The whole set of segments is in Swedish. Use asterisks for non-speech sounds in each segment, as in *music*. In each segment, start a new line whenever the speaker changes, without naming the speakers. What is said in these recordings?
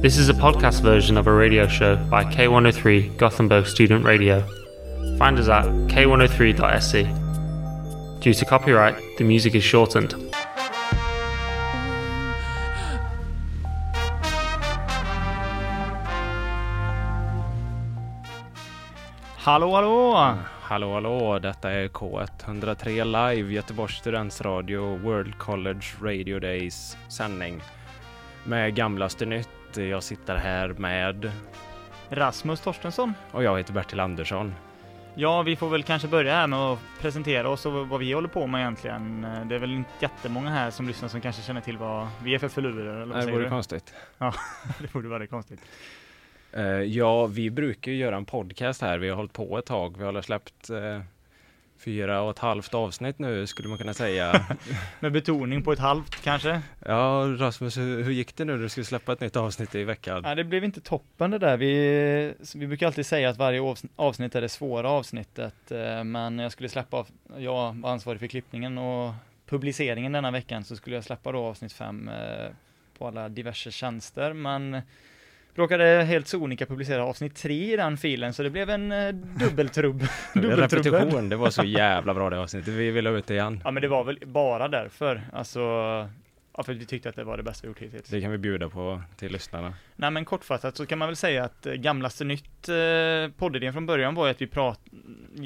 This is a podcast version of a radio show by K103 Gothenburg Student Radio. Find us at k103.se. E. Due to copyright, the music is shortened.
Hallå hallå!
Hallå hallå, detta är K103 Live, Göteborgs studentsradio, World College Radio Days sändning. Med gamlaste nytt, jag sitter här med,
Rasmus Torstensson.
och jag heter Bertil Andersson.
Ja, vi får väl kanske börja här med att presentera oss och vad vi håller på med egentligen. Det är väl inte jättemånga här som lyssnar som kanske känner till vad vi är för förlorare. Eller vad
Det
säger
vore
du?
konstigt.
det borde vara konstigt.
Eh, ja, vi brukar ju göra en podcast här, vi har hållit på ett tag, vi har släppt eh, fyra och ett halvt avsnitt nu skulle man kunna *laughs* säga.
Med betoning på ett halvt kanske.
ja, Rasmus, hur, hur gick det nu? Du skulle släppa ett nytt avsnitt i *laughs* veckan.
Ja, det blev inte toppen det där. Vi, vi brukar alltid säga att varje avs- avsnitt är det svåra avsnittet. eh, Men jag skulle släppa, av- jag var ansvarig för klippningen och publiceringen denna veckan så skulle jag släppa då avsnitt fem eh, på alla diverse tjänster. Men råkade helt sonika publicera avsnitt tre i den filen så det blev en eh, dubbeltrubb. dubbeltrubbel.
Repetition, det var så jävla bra det avsnittet. Vi vill ha ut det igen.
Ja, men det var väl bara därför. Alltså, ja, för vi tyckte att det var det bästa vi gjort hittills.
Det kan vi bjuda på till lyssnarna.
Nej men kortfattat så kan man väl säga att eh, Gamlaste Nytt eh, poddidén från början var ju att vi prat,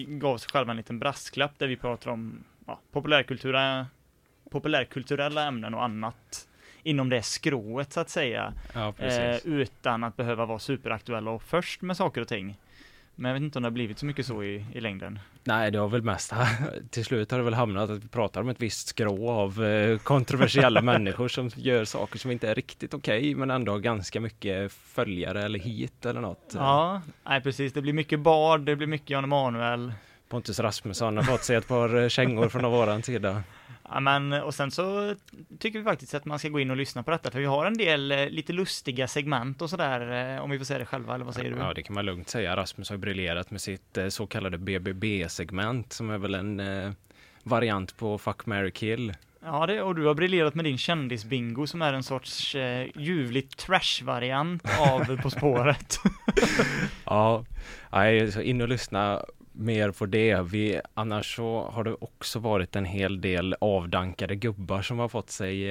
gav oss själva en liten brasklapp där vi pratar om ja, populärkultura, populärkulturella ämnen och annat inom det skrået så att säga.
Ja,
Eh,
precis.
utan att behöva vara superaktuella och först med saker och ting. Men jag vet inte om det har blivit så mycket så i, i längden.
Nej, det har väl mest, *laughs* till slut har det väl hamnat att vi pratar om ett visst skrå av eh, kontroversiella *laughs* människor som gör saker som inte är riktigt okej, men ändå har ganska mycket följare eller hit eller något.
Ja, nej precis. Det blir mycket Bard, det blir mycket Jan Emanuel.
Pontus Rasmusson har fått sig ett par eh, kängor från våran sida.
Ja, men, och sen så tycker vi faktiskt att man ska gå in och lyssna på detta, för vi har en del eh, lite lustiga segment och sådär, eh, om vi får säga det själva, eller vad säger du?
Ja, det kan man lugnt säga. Rasmus har ju briljerat med sitt eh, så kallade BBB-segment som är väl en eh, variant på Fuck, marry, kill.
Ja, det, och du har briljerat med din kändisbingo som är en sorts eh, ljuvlig trash-variant av På spåret.
*laughs* Ja, nej, så in och lyssna mer på det. Vi, annars så har det också varit en hel del avdankade gubbar som har fått sig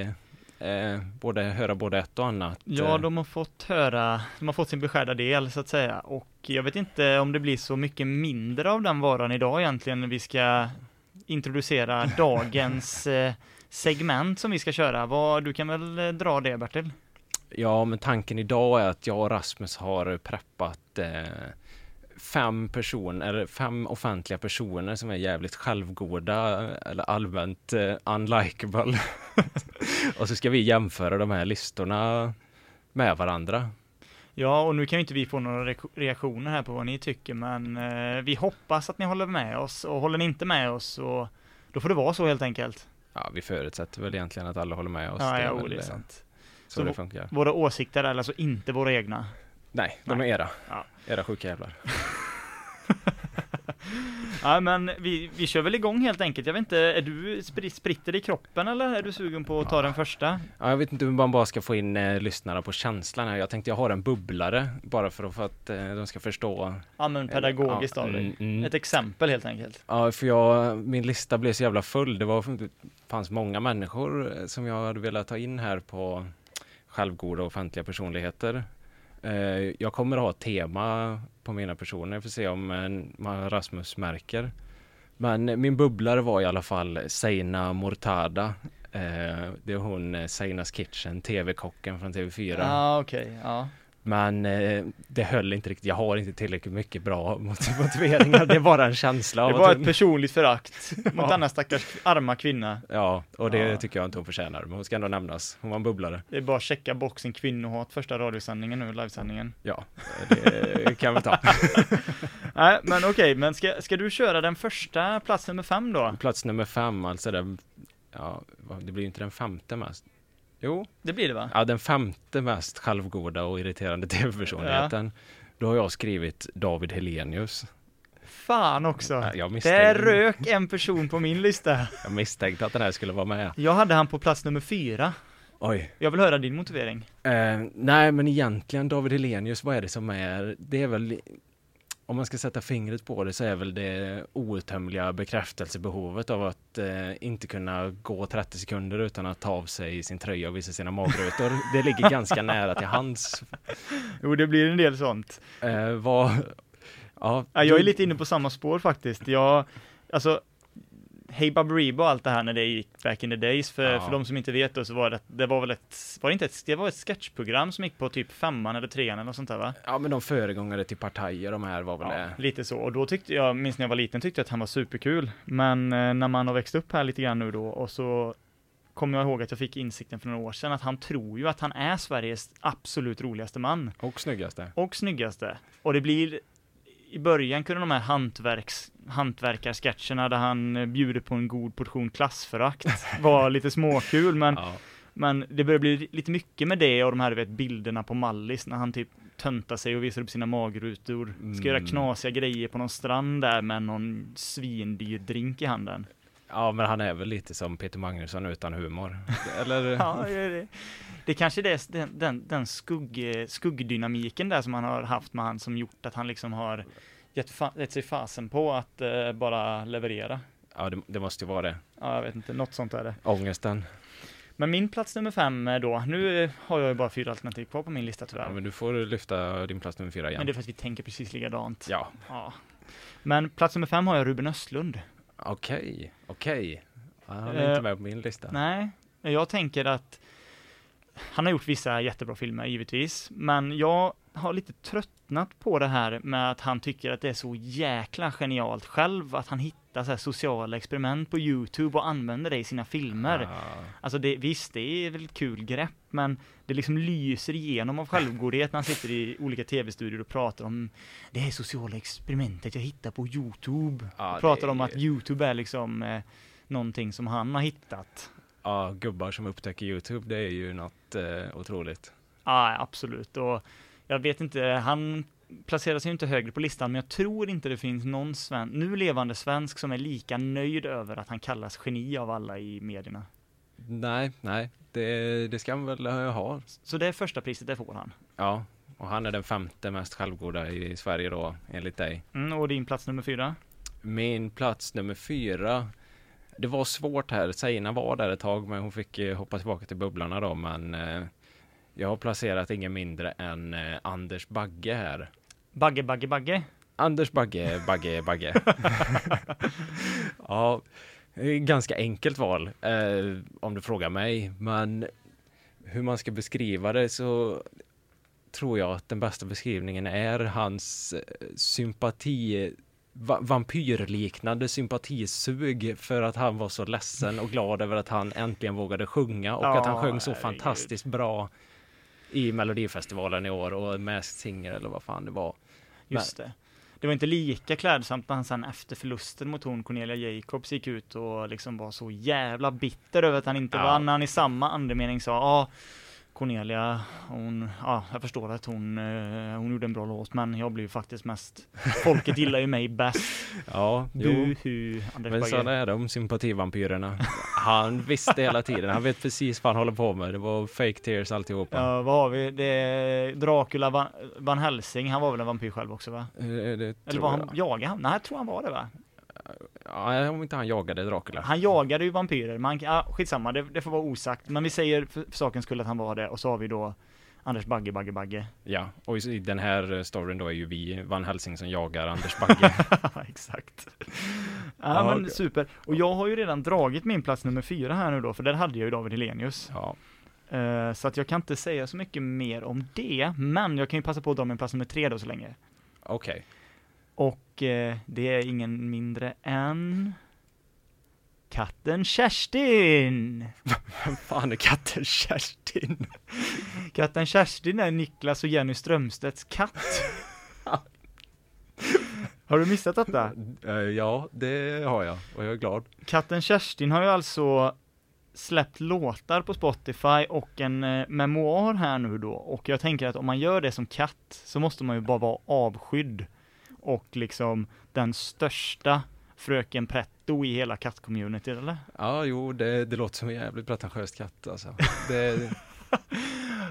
eh, både, höra både ett och annat.
ja, de har fått höra, de har fått sin beskärda del så att säga, och jag vet inte om det blir så mycket mindre av den varan idag egentligen, när vi ska introducera dagens eh, segment som vi ska köra. Vad, du kan väl eh, dra det Bertil?
Eh, Ja, men tanken idag är att jag och Rasmus har preppat eh, fem personer, fem offentliga personer som är jävligt självgoda eller allmänt eh, unlikable. *laughs* och så ska vi jämföra de här listorna med varandra.
Ja, och nu kan ju inte vi få några reak- reaktioner här på vad ni tycker, men eh, vi hoppas att ni håller med oss, och håller ni inte med oss så då får det vara så helt enkelt.
Ja, vi förutsätter väl egentligen att alla håller med oss.
Ja,
Det är
ja,
väl,
oh, det är
eh,
sant.
Så,
Så
det
vå-
funkar.
Våra åsikter är alltså inte våra egna.
Nej, de är era.
Ja.
Era sjuka jävlar.
Ja, men vi, vi kör väl igång helt enkelt. Jag vet inte, är du spr- spritter i kroppen eller är du sugen på att ta den första?
Ja, jag vet inte hur man bara ska få in eh, lyssnarna på känslan här. Jag tänkte jag har en bubblare bara för att, för att eh, de ska förstå.
Ja, men pedagogiskt av dig.
Mm, mm.
Ett exempel helt enkelt.
Ja, för jag, min lista blev så jävla full. Det, var, det fanns många människor eh, som jag hade velat ta in här på självgoda offentliga personligheter. Eh, Jag kommer att ha ett tema på mina personer, får se om eh, man- Rasmus märker. Men eh, min bubblare var i alla fall Seina Mortada. Eh, Det är hon eh, Seinas Kitchen, TV-kocken från TV4.
Ja, okej. ja.
Men eh, det höll inte riktigt. Jag har inte tillräckligt mycket bra *laughs* mot- motiveringar. Det är bara en känsla
Det
av
var
att
ett personligt
*laughs*
förakt mot denna stackars arma kvinna.
Ja, och det
Ja.
tycker jag inte hon förtjänar. Men hon ska ändå nämnas. Hon var en bubblare.
Det är bara att checka boxen kvinnohat första radiosändningen nu, livesändningen.
Ja, det kan vi ta.
Nej, men okej, men ska, ska du köra den första plats nummer fem då?
Plats nummer fem, alltså den... Ja, vad- det blir ju inte den femte mest. Jo,
Det blir det va?
ja den femte mest självgoda och irriterande *laughs* tv-personligheten. Då har jag skrivit David Helenius.
Fan också!
Ja, Jag
Där
misstänkte,
rök en person på min lista.
jag misstänkte att den här skulle vara med.
Jag hade han på plats nummer fyra.
Oj.
Jag vill höra din motivering.
Eh, nej, men egentligen David Helenius, vad är det som är, det är väl, om man ska sätta fingret på det så är väl det outtömliga bekräftelsebehovet av att eh, inte kunna gå 30 sekunder utan att ta av sig sin tröja och visa sina
*laughs*
magrutor. det ligger ganska nära till hands.
Jo, det blir en del sånt.
Eh, vad, ja,
Ja, jag är lite inne på samma spår faktiskt. Jag, alltså, Hey Baberiba och allt det här när det gick back in the days, för,
Ja.
för de som inte vet då så var det, det var väl ett, var det inte ett, det var ett sketchprogram som gick på typ femman eller trean eller något sånt där va?
ja, men de föregångare till partier, de här var väl
Ja,
det.
lite så, och då tyckte jag, minns när jag var liten tyckte jag att han var superkul, men eh, när man har växt upp här lite grann nu då, och så kommer jag ihåg att jag fick insikten för några år sedan att han tror ju att han är Sveriges absolut roligaste man.
Och snyggaste.
och snyggaste. Och det blir, i början kunde de här hantverks, hantverkarsketcherna där han eh, bjuder på en god portion klassförakt var lite småkul, men,
Ja.
men det börjar bli lite mycket med det och de här du vet, bilderna på Mallis när han typ töntar sig och visar upp sina magrutor. Ska göra
Mm.
knasiga grejer på någon strand där med någon svindyr drink i handen.
ja, men han är väl lite som Peter Magnusson
*laughs*
utan humor. Eller?
Ja, det, är det. det kanske det är den, den, den skugg, eh, skuggdynamiken där som han har haft med han som gjort att han liksom har gett, fa, gett sig fasen på att eh, bara leverera.
Ja, det, det måste ju vara det.
Ja, jag vet inte, något sånt är det.
Ångesten.
Men min plats nummer fem eh, då, nu eh, har jag ju bara fyra alternativ kvar på min lista tyvärr.
Ja,
men,
men du får lyfta din plats nummer fyra igen.
det är för att vi tänker precis likadant. Ja.
Ja,
Men plats nummer fem har jag Ruben Östlund.
okej, okej. Ja, Han är inte
Eh,
med på min lista.
Nej, jag tänker att han har gjort vissa jättebra filmer givetvis, men jag har lite tröttnat på det här med att han tycker att det är så jäkla genialt själv, att han hittar så här sociala experiment på YouTube och använder det i sina filmer.
Ah,
Alltså det, visst, det är väl ett kul grepp, men det liksom lyser igenom av självgodhet när han sitter i olika tv-studior och pratar om det här sociala experimentet jag hittar på YouTube.
Ja,
och pratar
det
om
är-
att YouTube är liksom eh, någonting som han har hittat.
ja, gubbar som upptäcker YouTube, det är ju något eh, otroligt.
Ja, absolut. Och jag vet inte, han placerar sig ju inte högre på listan, men jag tror inte det finns någon sven- nu levande svensk som är lika nöjd över att han kallas geni av alla i medierna.
Nej, nej, det, det ska han väl eh, ha.
Så det är första priset, det får han.
Ja, och han är den femte mest självgoda i Sverige då, enligt dig.
Mm, och din plats nummer fyra?
Min plats nummer fyra. Det var svårt här. Zeina var där ett tag, men hon fick eh, hoppa tillbaka till bubblorna då. Men eh, jag har placerat ingen mindre än eh, Anders Bagge här.
Bagge, Bagge, Bagge.
Anders Bagge, Bagge, Bagge. *laughs* ja, det är ett ganska enkelt val eh, om du frågar mig. Men hur man ska beskriva det så tror jag att den bästa beskrivningen är hans eh, sympati va- vampyrliknande sympatisug för att han var så ledsen och glad över att han äntligen vågade sjunga och att han
Ja,
sjöng så
herregud.
fantastiskt bra i Melodifestivalen i år och Masked Singer eller vad fan det var.
Just det. Det var inte lika klädsamt när han sen efter förlusten mot hon Cornelia Jacobs gick ut och liksom var så jävla bitter över att han inte
Ja.
vann. När han i samma andemening sa ja, Cornelia, hon, ja, jag förstår att hon, eh, hon gjorde en bra låt, men jag blev ju faktiskt mest, folket gillar ju mig bäst.
Ja, *laughs* jo.
Buhu, Anders
Men sådana
Bagge.
är de, sympativampyrerna. Han visste hela tiden, han vet precis vad han håller på med. Det var fake tears alltihopa.
Ja, vad har vi? Det är Dracula Van, Van Helsing, han var väl en vampyr själv också va?
Eh, Det
Eller
tror
var han,
jag.
jagade han? Nej, jag tror han var det va?
Ja, om inte han jagade Dracula.
Han jagade ju vampyrer, man, ah, skitsamma, det, det får vara osagt. Men vi säger för, för sakens skull att han var det, och så har vi då Anders Bagge, Bagge, Bagge.
Ja, och i i den här eh, storyn då är ju vi Van Helsing som jagar Anders Bagge.
*laughs* Ja, exakt. Ja, men super. Och jag har ju redan dragit min plats nummer fyra här nu då, för där hade jag ju David Hellenius.
Ja,
Eh, så att jag kan inte säga så mycket mer om det, men jag kan ju passa på att dra min plats nummer tre då så länge.
okej.
Och eh, det är ingen mindre än katten Kerstin!
*laughs* Vem fan är katten Kerstin?
*laughs* Katten Kerstin är Niklas och Jenny Strömstedts
*laughs*
katt. har du missat detta?
Eh, Ja, det har jag och jag är glad.
Katten Kerstin har ju alltså släppt låtar på Spotify och en eh, memoar här nu då och jag tänker att om man gör det som katt så måste man ju bara vara avskydd och liksom den största Fröken Pretto i hela kattcommunityt eller?
Ja, jo, det, det låter som en jävligt pretentiös
*laughs*
katt alltså. Det,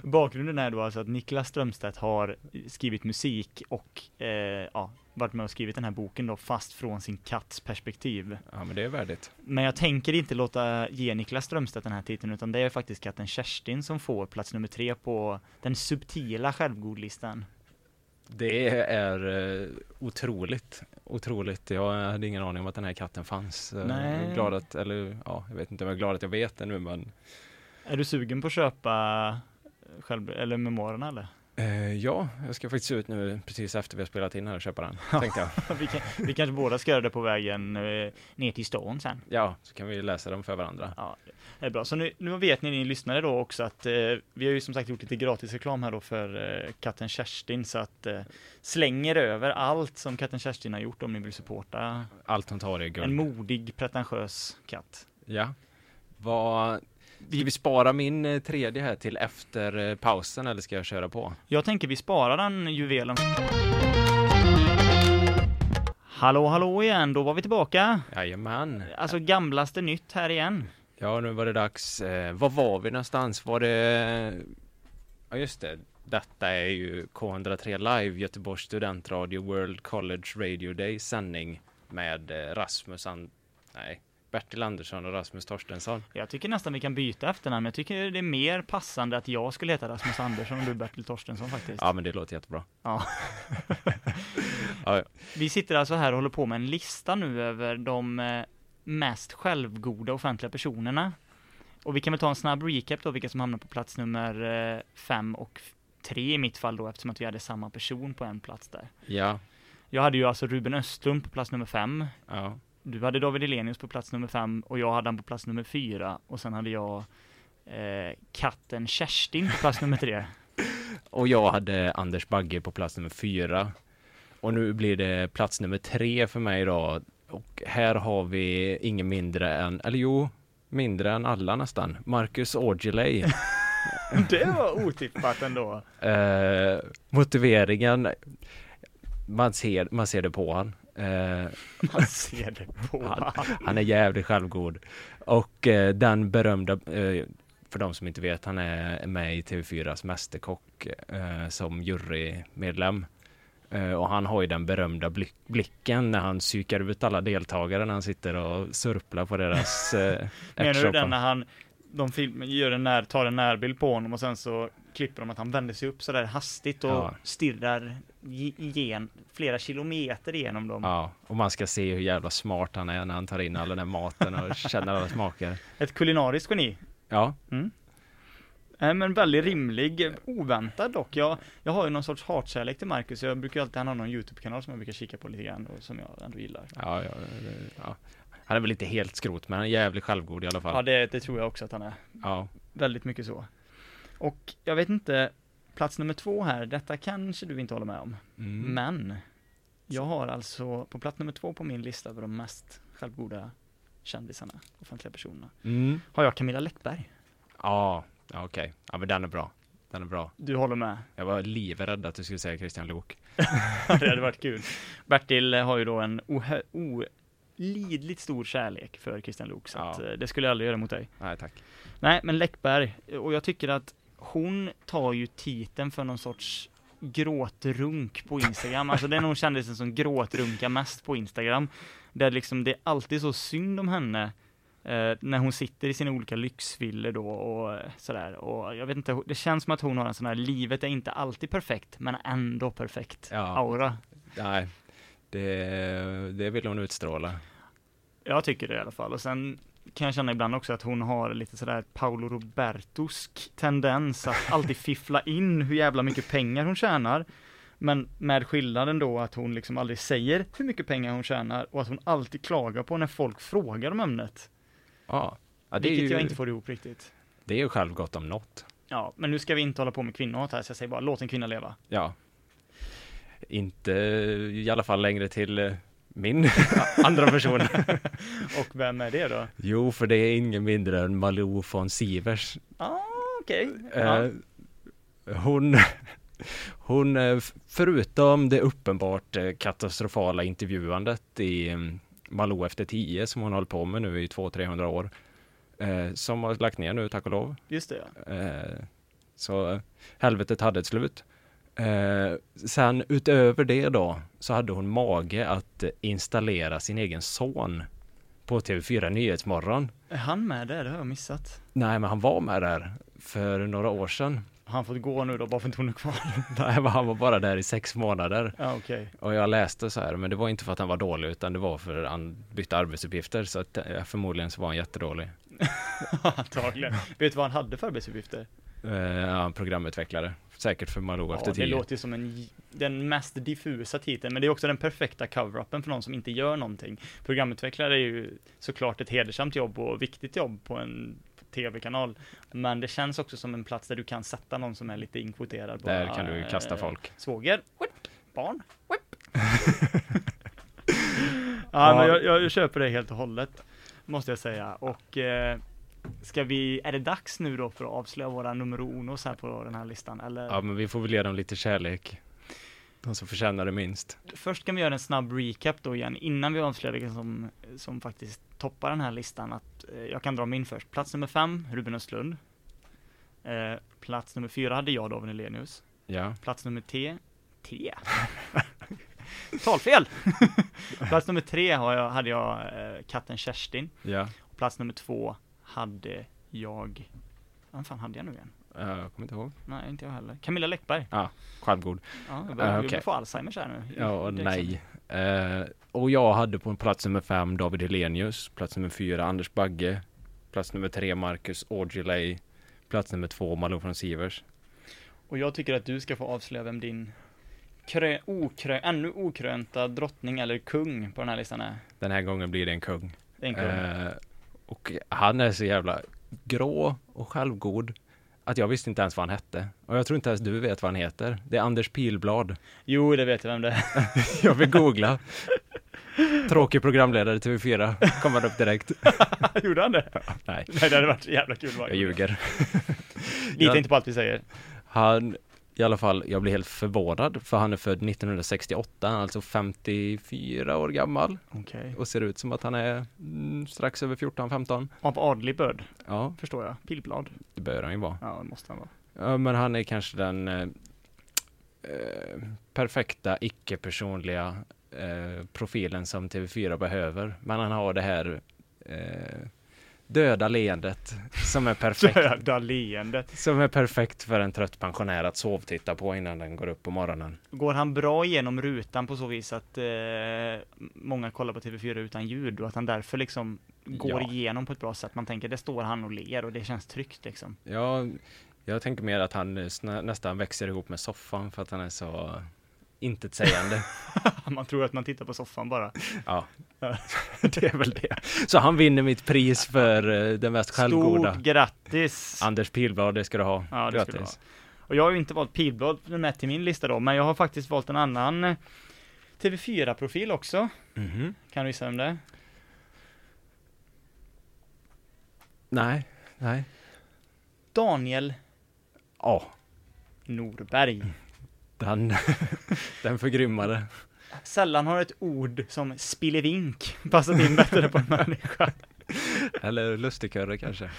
Bakgrunden är då alltså att Niklas Strömstedt har skrivit musik och eh, ja, varit med och skrivit den här boken då fast från sin katts perspektiv.
ja, men det är värdigt.
Men jag tänker inte låta ge Niklas Strömstedt den här titeln utan det är faktiskt katten Kerstin som får plats nummer tre på den subtila självgodlistan.
Det är eh, otroligt, otroligt. Jag hade ingen aning om att den här katten fanns. Eh,
Nej.
jag är Glad att, eller ja, jag vet inte om jag är glad att jag vet det nu, men
Är du sugen på att köpa eh, själv, eller memoarerna eller? *laughs*
eh, ja, jag ska faktiskt ut nu precis efter vi har spelat in här och köpa den,
*laughs*
tänkte jag.
vi, kan, vi kanske båda ska göra det på vägen eh, ner till stan sen.
Ja, så kan vi läsa dem för varandra.
Ja, det är bra. Så nu, nu vet ni, ni lyssnare då också att eh, vi har ju som sagt gjort lite gratis reklam här då för eh, katten Kerstin så att eh, slänger över allt som katten Kerstin har gjort om ni vill supporta
Allt hon tar är
en
guld.
modig, pretentiös katt.
ja. Vad... Ska vi spara min eh, tredje här till efter eh, pausen eller ska jag köra på?
Jag tänker vi sparar den juvelen. Hallå, hallå igen, då var vi tillbaka.
Jajamän.
Alltså gamlaste nytt här igen.
Ja, nu var det dags. Eh, var var vi någonstans? Var det... Ja, just det. Detta är ju K103 Live, Göteborgs studentradio, World College Radio Day sändning med eh, Rasmus An... Nej, Bertil Andersson och Rasmus Torstensson.
Jag tycker nästan vi kan byta efternamn. Jag tycker det är mer passande att jag skulle heta Rasmus Andersson och du Bertil Torstensson faktiskt.
Ja, men det låter jättebra.
Ja.
Ja, ja.
Vi sitter alltså här och håller på med en lista nu över de eh, mest självgoda offentliga personerna. Och vi kan väl ta en snabb recap då, vilka som hamnar på plats nummer eh, fem och f- tre i mitt fall då, eftersom att vi hade samma person på en plats där.
Ja,
Jag hade ju alltså Ruben Östlund på plats nummer fem.
ja.
Du hade David Elenius på plats nummer fem och jag hade han på plats nummer fyra. Och sen hade jag eh, katten Kerstin på plats nummer tre.
Och jag hade Anders Bagge på plats nummer fyra. Och nu blir det plats nummer tre för mig då. Och här har vi ingen mindre än, eller jo, mindre än alla nästan. Marcus Aujalay.
*laughs* Det var otippat ändå.
Eh, motiveringen, man ser, man ser det på han. Eh,
Man ser det på
han,
*laughs* han.
han är jävligt självgod. Och eh, den berömda, eh, för de som inte vet, han är med i TV4s Mästerkock eh, som jurymedlem. Eh, och han har ju den berömda blick, blicken när han psykar ut alla deltagare när han sitter och surplar
*laughs*
på deras eh,
Menar du
ärtsoppa.
den när han, de film, gör en när, tar en närbild på honom och sen så klipper de att han vänder sig upp sådär hastigt och
Ja.
stirrar i- igen, flera kilometer igenom dem.
Ja, och man ska se hur jävla smart han är när han tar in all den här maten och känner alla smaker.
Ett kulinariskt geni.
Ja,
Mm. Nej men väldigt rimlig, eh, oväntad dock. Jag, jag har ju någon sorts hatkärlek till Marcus, jag brukar ju alltid, han har någon YouTube-kanal som jag brukar kika på lite grann och som jag ändå gillar.
ja, ja, det- ja. Han är väl inte helt skrot, men han är jävligt självgod i alla
Ja
fall.
det, det tror jag också att han är.
Ja,
Väldigt mycket så. Och jag vet inte, plats nummer två här, detta kanske du inte håller med om.
mm.
Men jag har alltså på plats nummer två på min lista över de mest självgoda kändisarna, offentliga personerna,
Mm.
har jag Camilla Läckberg.
Ja, ja, okej. Ja, men den är bra. Den är bra.
Du håller med?
Jag var livrädd att du skulle säga Christian Lok.
*laughs* det hade varit kul. Bertil har ju då en ohö- olidligt stor kärlek för Kristian Luuk, så
Ja.
att, eh, det skulle jag aldrig göra mot dig.
Nej, tack.
Nej, men Läckberg, och jag tycker att hon tar ju titeln för någon sorts gråtrunk på Instagram. Alltså det är nog kändisen som gråtrunkar mest på Instagram. Där liksom det är alltid så synd om henne eh, när hon sitter i sina olika lyxvillor då och eh, sådär. Och jag vet inte, det känns som att hon har en sån här, livet är inte alltid perfekt, men ändå perfekt
Ja.
aura.
Nej, det, det vill hon utstråla.
Jag tycker det i alla fall. Och sen kan jag känna ibland också att hon har lite sådär Paolo Robertosk tendens att
*laughs*
alltid fiffla in hur jävla mycket pengar hon tjänar. Men med skillnaden då att hon liksom aldrig säger hur mycket pengar hon tjänar och att hon alltid klagar på när folk frågar om ämnet.
Ja, ja det, är
vilket
ju,
jag inte får ihop riktigt.
det är ju självgott om något.
Ja, men nu ska vi inte hålla på med kvinnohat här så jag säger bara låt en kvinna leva.
Ja. Inte i alla fall längre till eh, min *laughs* andra person.
Och vem är det då?
*laughs* jo, för det är ingen mindre än Malou von Sivers.
Ah, okej. Ja.
Eh, hon, *laughs* hon, eh, f- förutom det uppenbart eh, katastrofala intervjuandet i mm, Malou efter 10 som hon har hållit på med nu i 200-300 år. Eh, som har lagt ner nu, tack och lov.
Just det ja.
Eh, så eh, helvetet hade ett slut. Eh, sen utöver det då så hade hon mage att eh, installera sin egen son på TV4 Nyhetsmorgon.
Är han med där? Det har jag missat.
Nej, men han var med där för några år sedan.
Har han fått gå nu då bara för att hon är
*laughs*
kvar?
Nej, men han var bara där i sex månader.
Ja okej.
Och jag läste så här, men det var inte för att han var dålig utan det var för att han bytte arbetsuppgifter. Så att, eh, förmodligen så var han jättedålig.
Antagligen. Vet du vad han hade för arbetsuppgifter?
Eh, ja, programutvecklare. Säkert för Malou efter
Ja, det
tio.
låter ju som en, j- den mest diffusa titeln, men det är också den perfekta cover-upen för någon som inte gör någonting. Programutvecklare är ju såklart ett hedersamt jobb och viktigt jobb på en tv-kanal, men det känns också som en plats där du kan sätta någon som är lite inkvoterad.
Där
Bara,
kan du kasta
eh,
folk.
Svåger, whip, barn, whip. *laughs* ja, men jag, jag, jag köper det helt och hållet, måste jag säga. Och eh, ska vi, är det dags nu då för att avslöja våra nummer unos här på den här listan? Eller?
Ja, men vi får väl ge dem lite kärlek. De som förtjänar det minst.
Först kan vi göra en snabb recap då igen innan vi avslöjar vilken som, som faktiskt toppar den här listan. Att, eh, jag kan dra min först. Plats nummer fem, Ruben Östlund. Eh, plats nummer fyra hade jag David Hellenius.
Ja.
Plats nummer T, T. *laughs*
*laughs*
Talfel! plats nummer tre har jag, hade jag eh, katten Kerstin.
Ja,
Och plats nummer två hade jag, vad fan hade jag nu igen?
eh, jag kommer inte ihåg.
Nej, inte jag heller. Camilla Läckberg.
Självgod.
Ja, jag börjar
Ah,
jag
okej.
börjar få Alzheimers här nu.
Ja, och
Direkt
nej. Eh, och jag hade på plats nummer fem David Helenius, plats nummer fyra Anders Bagge, plats nummer tre Marcus Aujalay, plats nummer två Malou från Sivers.
Och jag tycker att du ska få avslöja vem din krö, okrö, ännu okrönta drottning eller kung på den här listan är.
Den här gången blir det en kung.
Det är en kung.
Eh, och han är så jävla grå och självgod att jag visste inte ens vad han hette. Och jag tror inte ens du vet vad han heter. Det är
*laughs*
Anders Pilblad.
Jo, det vet jag vem det är.
Jag vill googla. Tråkig programledare TV4. Kommer upp direkt.
*laughs* Gjorde han det?
Nej,
Nej, det hade varit så jävla kul.
jag ljuger.
Lita
Jag-
inte på allt vi säger.
Han, i alla fall, jag blir helt förvånad för han är född 1968, han är alltså 54 år gammal
Okej.
och ser ut som att han är mm, strax över 14-15.
Av adlig börd,
Ja,
förstår jag. Pilblad.
det bör han ju vara.
Ja, det måste han vara.
Ja, men han är kanske den eh, eh, perfekta icke-personliga eh, profilen som TV4 behöver. Men han har det här eh, döda leendet som
*laughs*
är perfekt.
Döda leendet.
Som är perfekt för en trött pensionär att sovtitta på innan den går upp på morgonen.
Går han bra igenom rutan på så vis att eh, många kollar på TV4 utan ljud och att han därför liksom går
Ja.
igenom på ett bra sätt. Man tänker, det står han och ler och det känns tryggt *laughs* liksom.
Ja, jag tänker mer att han eh, snä- nästan växer ihop med soffan för att han är så
*laughs*
intetsägande.
Man tror att man tittar på soffan *laughs* bara.
ja, det är väl det. Så han vinner mitt pris för eh, den mest självgoda.
Stort grattis!
Anders Pilblad, det ska du ha.
Ja, det ska du ha. Och jag har ju inte valt Pilblad med till min lista då, men jag har faktiskt valt en annan eh, TV4-profil också.
Mhm.
Kan du gissa vem det är?
Nej, nej.
Daniel
Ja,
Norberg.
den, *laughs* den förgrymmade.
Sällan har ett ord som spillevink passat in bättre på en människa.
Eller lustigkurre kanske.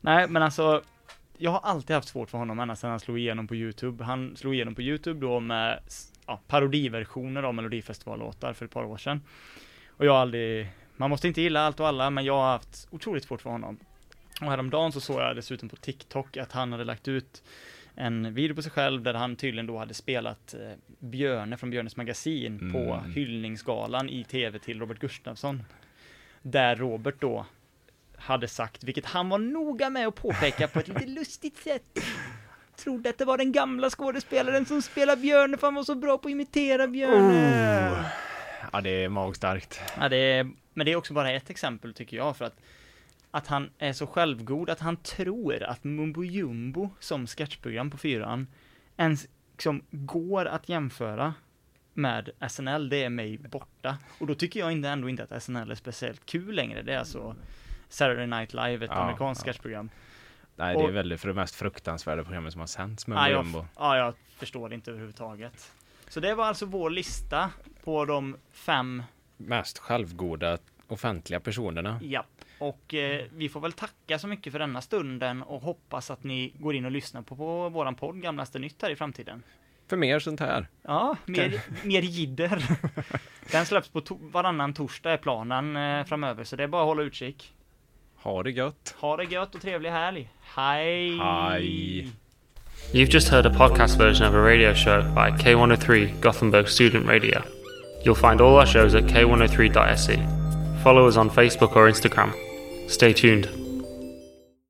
Nej, men alltså, jag har alltid haft svårt för honom ända sedan han slog igenom på YouTube. Han slog igenom på YouTube då med s- ja, parodiversioner av Melodifestivallåtar för ett par år sedan. Och jag har aldrig, man måste inte gilla allt och alla, men jag har haft otroligt svårt för honom. Och häromdagen så såg jag dessutom på TikTok att han hade lagt ut en video på sig själv där han tydligen då hade spelat eh, Björne från Björnes magasin på
Mm.
hyllningsgalan i tv till Robert Gustafsson. Där Robert då hade sagt, vilket han var noga med att påpeka på ett lite lustigt sätt. Trodde att det var den gamla skådespelaren som spelar Björne för han var så bra på att imitera Björne.
Oh. Ja, det är magstarkt.
Ja, det är, men det är också bara ett exempel tycker jag för att att han är så självgod att han tror att Mumbo Jumbo som sketchprogram på fyran ens liksom går att jämföra med SNL, det är mig borta. Och då tycker jag inte, ändå inte att SNL är speciellt kul längre. Det är alltså Saturday Night Live, ett
Ja,
amerikanskt
ja.
sketchprogram.
Nej, det är
Och-
väl det för det mest fruktansvärda programmet som har sänts med
Ja, jag,
Jumbo.
ja, jag förstår det inte överhuvudtaget. Så det var alltså vår lista på de fem
Mest självgoda offentliga personerna.
Ja, och eh, vi får väl tacka så mycket för denna stunden och hoppas att ni går in och lyssnar på, på våran podd Gamlaste Nytt här i framtiden.
För mer sånt här.
Ja, mer, mer jidder. Den släpps på to- varannan torsdag är planen eh, framöver, så det är bara att hålla utkik.
Ha det gött.
Ha det gött och trevlig helg. Hej!
Hej.
You've just heard a podcast version of a radio show by K103 Gothenburg Student Radio. You'll find oh E. all our shows at k103.se. Follow us on Facebook or Instagram. Stay tuned.